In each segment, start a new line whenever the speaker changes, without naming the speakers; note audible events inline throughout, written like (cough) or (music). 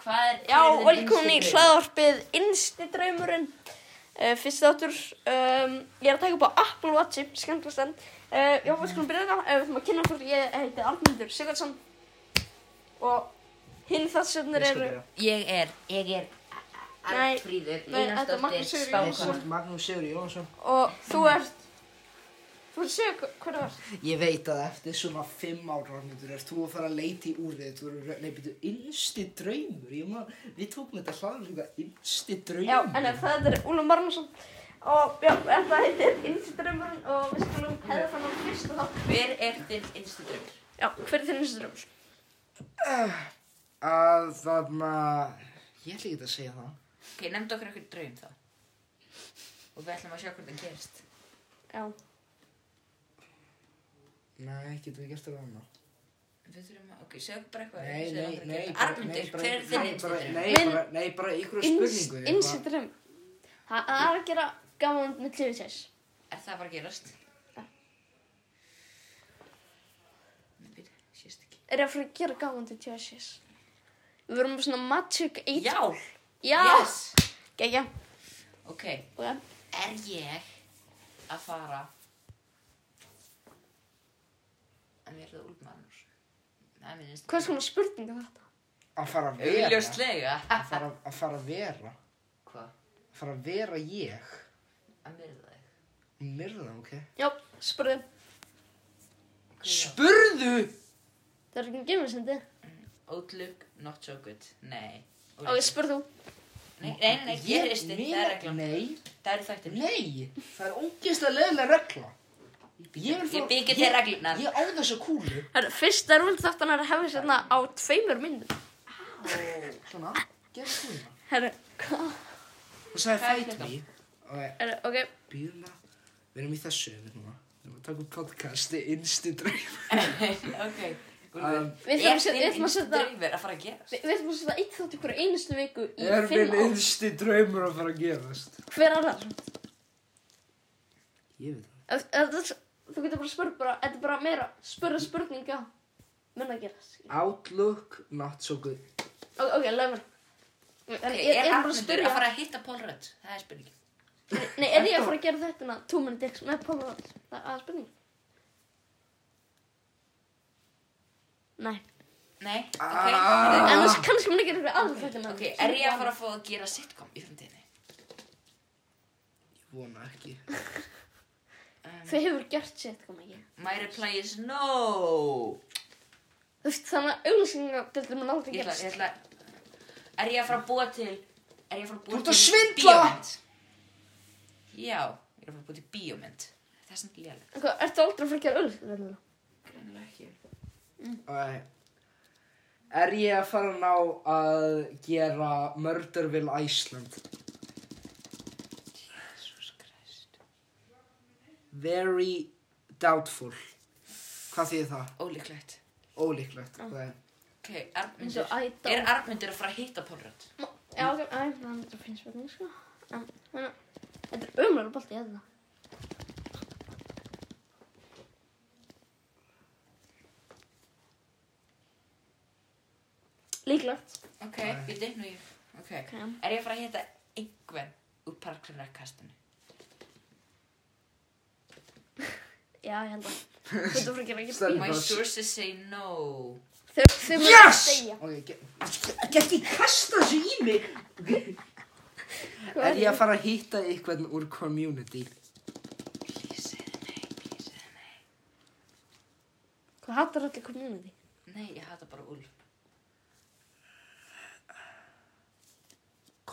Hvað er
Já,
hvað er þinn
velkomin í
innsti draumur?
hlaðvarpið Innsti draumurinn uh, Fyrst þáttur um, Ég er að taka upp á Apple Watchi, skemmtlast enn uh, Já, við skulum byrja þetta uh, Við ætlum að kynna okkur, ég heiti Arnildur Sigurðsson Og hinn þessirnir eru
Ég er, ég er
Nei,
Arnfríður,
nei, þetta
Einarsdóttir,
er Magnús Sigurður
spákona
Jónsson.
Magnús Sigur Jónsson
Og þú ert Þú ert að segja hver- hver það var
Ég veit að eftir svona fimm ára myndur er þú að fara að leita í úrið þú eru, nei, byrju, innsti draumur ég man, við tókum þetta hlaður líka innsti draumur
Já, en ef það er Úlum Marnason Og já, þetta heitir Innsti draumurinn Og við skulum hefða þannig fyrst og þá
Hver er þinn innstu draumur?
Já, hver er þinn innsti draumur?
að þarna ég ætla ekki að segja það
Ok, nefndu okkur eitthvað draum þá Og við ætlum að sjá hvernig það gerist
Já,
nei, getum við gert það annað
Við þurfum að, ok, segðu bara eitthvað
nei,
sem
nei,
þú
nei,
ætlar að gera.
bara- nei,
Arnmundur,
bara-
hver er þinn
nei,
innstu
bara-
draumur?
nei,
Minn-
bara- nei, bara ykkur spurningu eitthvað.
Innsti draumur Það það er að gera gaman með klifið sérs
Er það bara að gerast? Nei, byrja, sést ekki
er að fara að gera gaman til Jessis. Við vorum með svona Magic 8.
Já,
Já.
yes
Gæja.
Ok,
Já.
er ég að fara En við erum það úlfmannur Það er minn innstu
Hvað er svona spurning er þetta?
að fara að vera
Augljóslega (laughs)
að fara að fara að vera að
Hvað?
fara að vera ég
Að myrða þig
myrða, ok
Já, spurði.
spurðu
Það er ekki gemið sem þið.
Outlook, not so good. Nei.
Ó, ég spurði þú.
Nei, nei, nei, gerist þið. Það er reglan.
nei,
Það eru þættir.
nei, það er ógeðslega leðilega regla ég vil fá
Ég byggi til reglurnar.
ég á þessu kúlu
Það er fyrst erfild þáttan er að hefði sérna á tveimur myndum.
svona, gerð kúluna
Herru, hvað?
og sagði
Hvað er
fight
klukkan?
me og
Herru, ok.
býðum að við erum í þessu við erum að- við erum að taka upp podcasti innstu draum
(laughs) ok.
Um,
Við þurfum að setja- við þurfum að setja-
Draumir að fara að gerast.
Við við ætlum að setja eitt þátt í hverju einustu viku í
er
fimm
minn
ár.
innstu draumur að fara að gerast
Hver er það?
ég veit það
Ef- ef það- Þú getur bara spurt bara, þetta er bara meira spurra spurninga. Menna að gera það.
outlook not so good
Ok, leið mér.
Ok, er
Ég ég er bara að
Arnmundur
spyrja.
að fara að hitta Paul Rudd? Það er spurningin.
Nei, er ég að fara að gera þetta na, two minute dicks með Paul Rudd? Það það er spurning. Nei.
Nei,
Ah.
ok.
En þess kannski mun ég gera eitthvað aðra þetta hérna.
Ok, er ég að fara að fá að gera sitcom í framtíðinni?
ég vona ekki
Um,
Þau hefur gert sér eitthvað mikið.
my reply is no.
Þú veist, þannig að auglýsingadeildur mun aldrei
Ég ætla, ég
gerast.
ætla. Er ég að fara að búa til, er ég að fara að
Þú
búa
ert
til
að svindla!
bíómynd? Já, ég er að fara að búa til bíómynd. Það er samt lélega.
En hvað, ertu aldrei að fara að gera auglýsingadeildur?
Greinilega ekki.
Æ. Er ég að fara að ná að gera Murderville Iceland?
Jesus Christ.
Very doubtful. Hvað þýðir það?
Ólíklegt.
Ólíklegt. Það er.
Ok,
Eins og
Arnmundur.
I
Er
don't.
Arnmundur að fara að hitta Pólrönd?
Má- Já, ok, æ, það er þetta finn spurning, sko. En, þannig að, þetta er umlega bolti, ég hefði það. Líklegt.
Ok,
Nei.
við deynu ég. Ok.
Ok.
Er ég að fara að hitta einhvern úr parkurinnarkastinu?
Já, ég
(laughs)
held að. Þetta fyrir að gera ekki
Stelma.
My
Það-
sources say no.
Þau, þau munu yes! segja.
Ok, get, get ekki kasta þessu í mig. Er ég að fara að hitta einhvern úr community?
Please say nei, please say nei.
Hvað hattar allir community?
Nei, ég hata bara Úlf.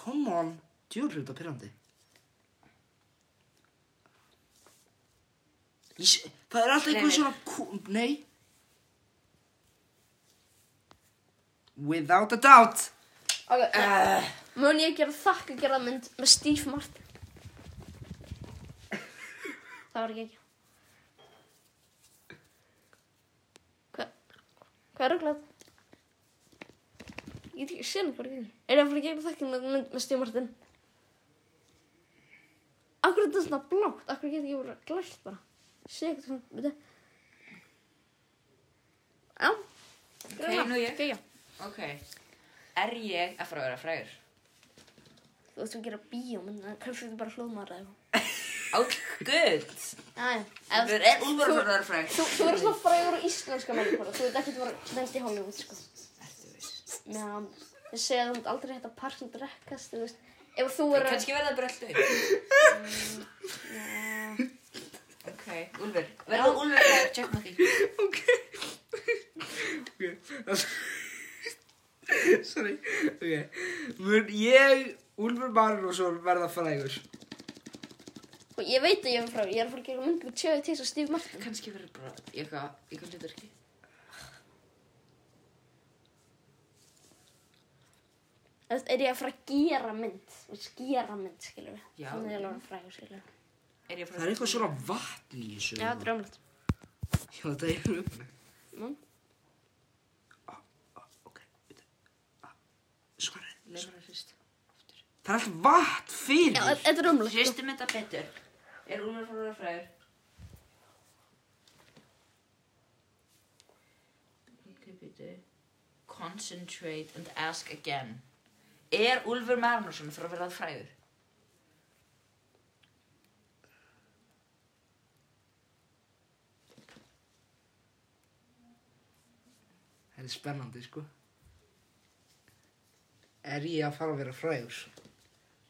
Come on. Djúrlut og pyrrandi. Ég, sé- það er alltaf
Nei,
einhver
nei.
svona... kú- Nei. Without a doubt.
Ok, uh.
Uh,
mun ég gera þakka gera mynd með Steve Martin? Það var ekki ekki. Hvað, hvað er okkur þetta? Ég get ekki séð hvað er ekki. Er ég að fara að gera þakka gera mynd með Steve Martin? Akkur er þetta svona blátt? Akkur get ekki bara glært bara? Sér eitthvað svona, veitu? Já,
nú ég.
Gæja.
Ok. Er ég að fara að vera frægur?
Þú veist að gera bíómynd, en kannski þú bara hlóðmaður eða
All good!
eitthvað.
Úlfur
Jæja.
er Úlfur að fara að vera frægur.
Þú, þú verður svona frægur á íslenska mælikvarða, þú veit ekki að þú verður næst í Hollywood, sko.
Ertu viss?
Já, ég segja að þú ert aldrei hægt að par sem drekkast, þú veist. Ef þú verður...
Kanski verða það bara alltaf.
Já,
Ok, Úlfur. Verða Úlfur frægur, tjekk maður því.
Ok. Ok. Sorry. Ok. Mun ég, Úlfur Marinósson, verða frægur?
og ég veit að ég er frá, ég er að fara að gera mynd með Chevy Chase og Steve Martin.
Kanski verða bara í eitthvað, í eitthvað hlutverki.
Þú veist, er ég að fara að gera mynd, þú veist, gera mynd, skiljum við.
Já.
Þannig er ég alveg að vera frægur, skiljum við.
Er ég að
Það
fara
er eitthvað svona vatn í þessu.
Já, drömlegt.
Já, það er umlega.
Mm.
Ok. bíddu. Ah, Svarið.
Leif mér að hrist.
Það er allt vatn fyrir.
Já, þetta er drömlegt, sko.
Hristum þetta betur. Er Úlfur að fara að vera frægur? Ok, býtu. Concentrate and ask again. Er Úlfur Magnússon að fara að verða frægur?
Það er spennandi, sko. Er ég að fara að vera frægur?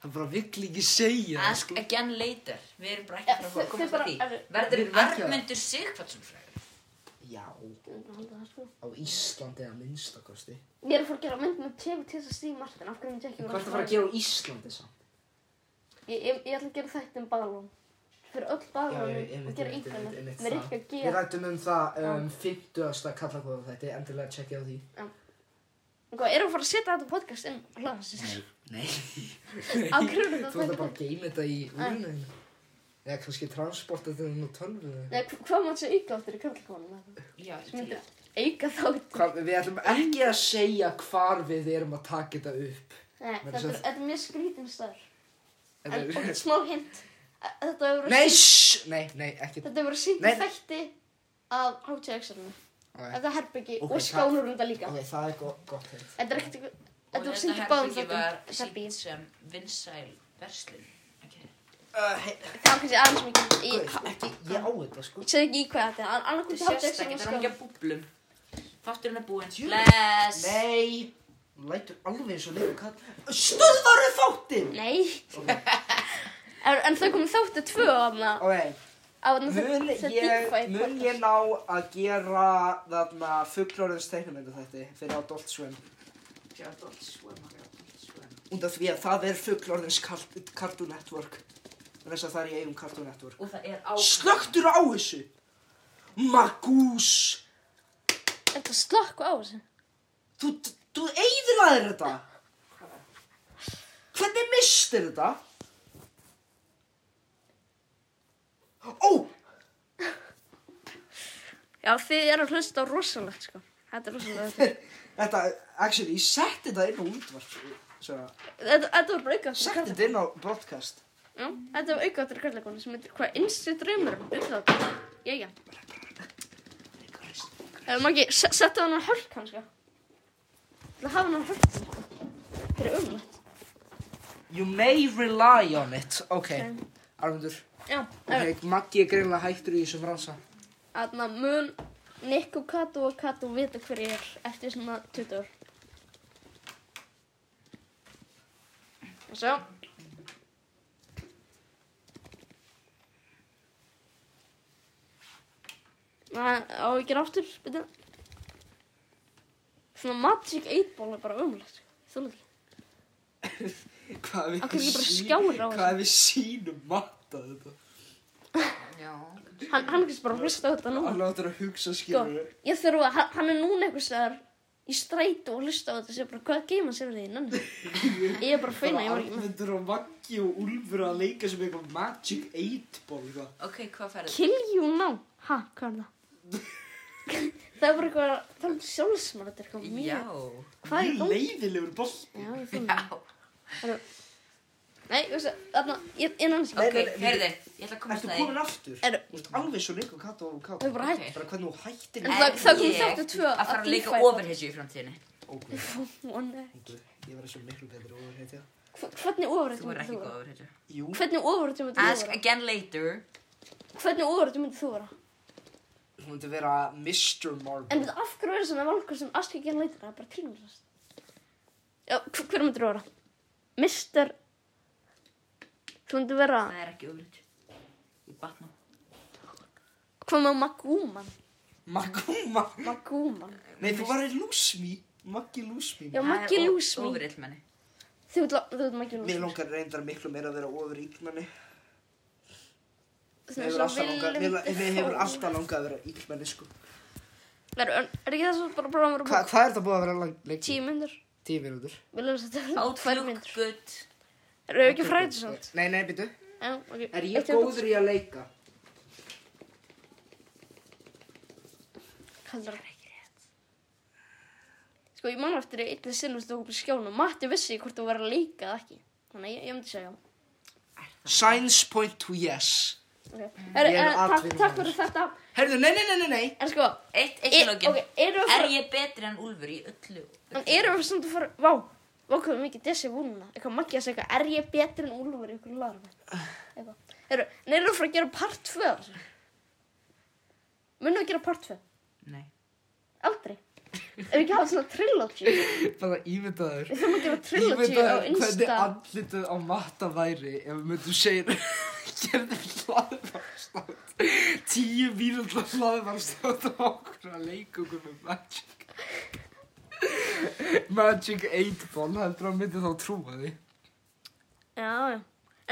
Það bara vill ekki segja það,
Ask
sko.
again later Við erum bara
Já,
ekki frá að
þau-
komast
þau
að
bara-
því
ef-
Verður
við erum ekki að-
Arnmundur Sigfarsson frægur
Já,
Ég er að halda það, sko.
á Íslandi eða minnstakosti.
Ég er að fara að gera mynd með Chevy Chase og Steve Martin, af hverju myndi ég ekki
Hvað er
vera
það að fara að
frægur?
gera á Íslandi samt?
Ég, ég, ég ætla að gera þætti um baðalón. Fyrir öll baðalónum og gera einhvernig með Rikka G.
Við rættum um það um 50. kallakóða þetta, endilega tjekkja á því.
Hvað, Sko, erum við að fara að setja þetta podcast inn á hlaðarsins?
Nei.
Á hverju er þetta
Þú ætla bara
podcast?
að geima þetta í úrinu þínu. Eða kannski transporta þetta inn á tölvuna.
Nei, hv- hvað maður sem auka áttir í kallkonum?
Já, ég til
Myndi
það
auka þátt?
Hvað, við ætlum ekki að segja hvar við erum að taka þetta upp.
Nei,
Meira
þetta er,
sem-
þetta er mjög skrítin staður. En,
Þetta
og
er-
smá hint. að Þetta hefur verið
Nei, shhh! Nei, nei, ekki.
þetta hefur verið sýnt
Nei.
í þætti af HTX-arnu.
Ok,
Þetta er herbyggi
Ok,
og
það-
skánur um þetta líka.
ok, það er go- gott hint.
Þetta er ekkert eitthvað... Þetta
Og
var sýnt
þetta
í báðum
herbergi var
þáttum. Herbyggi.
sýnt sem vinsæl verslun okay.
Uh, hei-
Það var kannski aðeins mikið.
Guð,
Ég-
Ekki, ég á þetta sko.
Ég segi ekki í hvað þetta er.
Þetta
Annarkvæmt
sést ekki,
HTX-arnu og
það er ekki
skánur.
að búblum Þátturinn er búinn
Jú.
Bless
Nei, hún lætur alveg eins og leikur kall. Stöðvaru þáttinn!
Nei. En en þau komið þáttu tvö á þarna.
Ok,
Á þarna
Mun
þetta- þetta
ég,
Deepfake
mun ég
podcast.
ná að gera þarna fugglorðins teiknumindu þetta fyrir Adult Swim
Já, Adult Swim, já, Adult Swim.
út af því að það er fugglorðins kart- Cartoon Network Vegna þess að það er í eigum Cartoon Network
Og það er á
Slöktur á þessu Magús
Þetta slökku á þessu.
Þú, þú eigðlaðir þetta Hvernig mistir þetta? Ó,
Já, þið eru að hlusta á rosalegt, sko. Þetta er rosalegt.
þetta, actually, ég setti þetta inn á útvarp Svona,
(laughs) þetta, þetta var bara aukvættur
setti þetta inn á broadcast
Já, þetta var aukvættur kallakonu sem heitir hvað innstu draumur um upplátt. Jæja. Eh, Maggi, se- settu hann á hölk kannski. Þú hafa hann á sko? hölk kannski. Þetta er umlætt.
You may rely on it. Ok,
Ok.
Arfundur.
Já,
Ok, Maggi er greinlega hættur í þessum fransa.
þannig að mun Nikko Kato og Kato vita hver ég er eftir svona 20 ár. Og svo. Það á ekki ráttur, byrja. Svona Magic 8 ball er bara ömulegt. Þú veit ekki.
Hvað við
Af hverju ekki bara skjáir á
Hvað við sínum matta þetta?
Já
Hann, hann er kannski bara að hlusta á þetta núna.
Hann áttur að
Sko,
hugsa skilur.
Ég þurfa, hann, hann er núna einhvers vegar í strætu og hlusta á þetta og segja bara hvað geima sér því
(laughs)
nann. Ég er bara að feina, ég var ekki með.
Arfundur og Maggi og Úlfur að leika sem eitthvað Magic 8 ball. eitthvað.
Ok, hvað færðu?
Kill you now. Ha, hvað er það?
(laughs)
það er bara eitthvað, það er sjálfsmörð, þetta er eitthvað
Já
mjög. Hvað er
Mjög
það?
leiðilegur boll.
Já, ég finn
Já
það. Nei, þú veist, þarna, ég, ég nann
Ok,
sér.
Nei, nei, nei.
heyrðu, ég ætla að komast
Ertu
að
komin aftur?
Er,
Þú ert alveg svo leik og katt og katt.
þau bara hætt.
Bara hvernig þú hættir.
En það-
Er
það kom
ég
þáttur tvö
að fara
að
að leika
Deepfake.
ofurhetju í framtíðinni
Ó, ógvöð.
Vona ekki.
Ég var eins og miklu betri og heitja.
Hva- Hvernig ofurrættu
Þú er
myndir
ekki
þú
góð
vera?
að vera
Jú,
Hvernig ofurrættu myndir þú
Ask
vera?
again later.
Hvernig ofurrættu myndir þú vera?
hún myndi vera Mr.
En
Marble.
veit, af hverju verður svona valkur sem ask ekki hann leitir? Það er bara tilnumsast. Já, hver, hver myndir þú vera? Mister... Þú myndir vera...
Það er ekki ofurhetju. Í batna.
Hvað með Magúman?
Maguma.
Magúman.
Nei, þú var í Lúsmi. Maggi Lúsmi.
Já, Maggi Lúsmi.
Ofurhetju menni.
Þú veit, þú veit Maggi
Mér
Lúsmi.
langar reyndar miklu meira að vera ofur ílmenni.
Þú
Mér hefur alltaf langað, mér, mér hefur alltaf langað að vera ílmenni, sko.
Er, er ekki það svo bara bara að vera
Hva,
búin?
hvað er það búið að vera langt lengi?
Tíu myndir.
Tíu mínútur.
Við lögum þetta
Out
tvær
look
myndir.
good.
Erum við ekki fræðið samt?
Nei, nei, byrju.
Já, ok.
Er ég
Eitt í andlitið.
góður í að leika?
Kallar það ekki rétt. Sko, ég man eftir einnig sinn við stóðum upp í skjánum. Matti vissi hvort þú var að leika eða ekki. Þannig að ég, ég myndi segja já.
Signs point to yes.
Okay.
er
Mm.
Er, er, takk,
atvinnumaður.
takk fyrir þetta.
Herðu, nei, nei, nei, nei, nei.
En sko,
Eitt, eitt í
er,
lokin.
ok, erum við
Er
fyrir,
ég betri en Úlfur í öllu?
en erum við samt að fara, vá, vá, hvað er mikið desi vunna. Eitthvað maggi að segja, er ég betri en Úlfur í ykkur lagar? Eitthvað. Eru- En erum við fyrir að gera part 2 af þessu? Munum við að gera part 2?
Nei.
Aldrei. Ef við ekki hafa svona trilogy. Við
Bara ímyndaður.
þurfum að gera trilogy á
hvernig
Insta.
andlitið á matta væri ef við myndum segja (laughs) gerði hlaðvarsnátt tíu mínútur hlaðvarsnátt og okkur að leika okkur með Magic Magic 8 ball heldur að myndi þá trúa því
Já, já.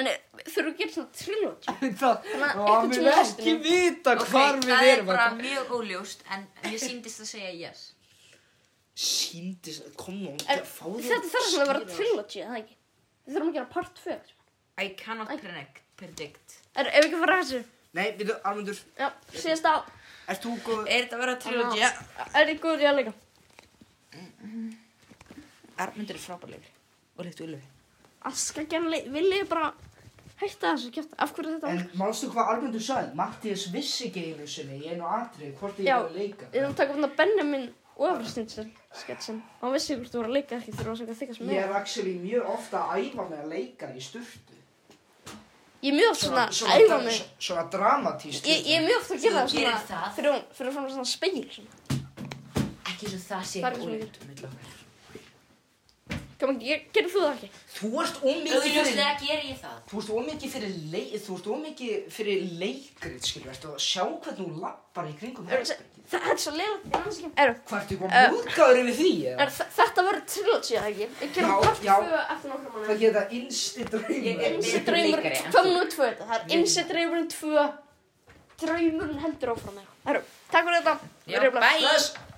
En eh, þurfum við að gera svona trilogy.
það,
Þannig að
og
einhvern
hann vil
tímann í
ekki
næstunni.
vita
Ok,
hvar
það
við
er
erum
bara
að-
mjög óljóst en mér síndist að segja yes.
síndist, kom nú
En Þetta þarf svona að vera trilogy, eða ekki? Við þurfum að gera part 2.
I cannot predict. predict.
Er, ef ekki fara að þessu?
nei, við þau, Armundur,
Já, síðast á.
ert þú góð
Er þetta að vera trilogy?
Er þið góður í að leika?
Armundur er frábælegur. Og líkt Úlfur.
Aska genni, vil ég bara hætta þessu kjöfta? Af hverju er þetta?
En málstu hvað Armundur sagði? Mattias vissi ekki einu sinni í einu atrið hvort ég
Já.
var að leika.
Við þurfum að taka fyrir Benjamin Ofrastinsen, sketsin. Hann vissi hvort þú voru að leika ekki þurfa að segja þykast
Ég
með.
er actually mjög ofta að æfa mig að leika í sturtu.
Ég er mjög oft svona að æfa mig.
Svona dramatíst.
Ég, ég er mjög oft að
Þú gerir
gera það svona
það.
fyrir, fyrir fram svona speil. Svona.
Ekki svo það sé
Það er
ekki
svo
ólíkt mitt okkar.
Kom ekki, ég- gerir þú það ekki?
Þú ert ómikið fyrir...
Augljóslega ger ég það.
Þú ert ómikið fyrir, leik, þú ert ómikið fyrir leikrit, skilur, ertu að sjá hvernig hún lappar í kringum
Er-
hér.
se- Það er svo leilat, ég hans ekki. Eru,
Hvað ertu eitthvað múðgáður yfir því, eða?
Er, þ- þetta verður trilogy, eða ekki? Ég
Já,
gerum part
já.
2 eftir nokkra mánuði.
Það geta innsti
Ég er
drauma.
Innsi
miklu
draumur,
líkari en
hvað mun við tvö þetta? Það er innsi draumurinn tvö, draumurinn heldur áfram með. Herru, takk fyrir þetta.
Já,
Við erum bara-
bye.
Bless.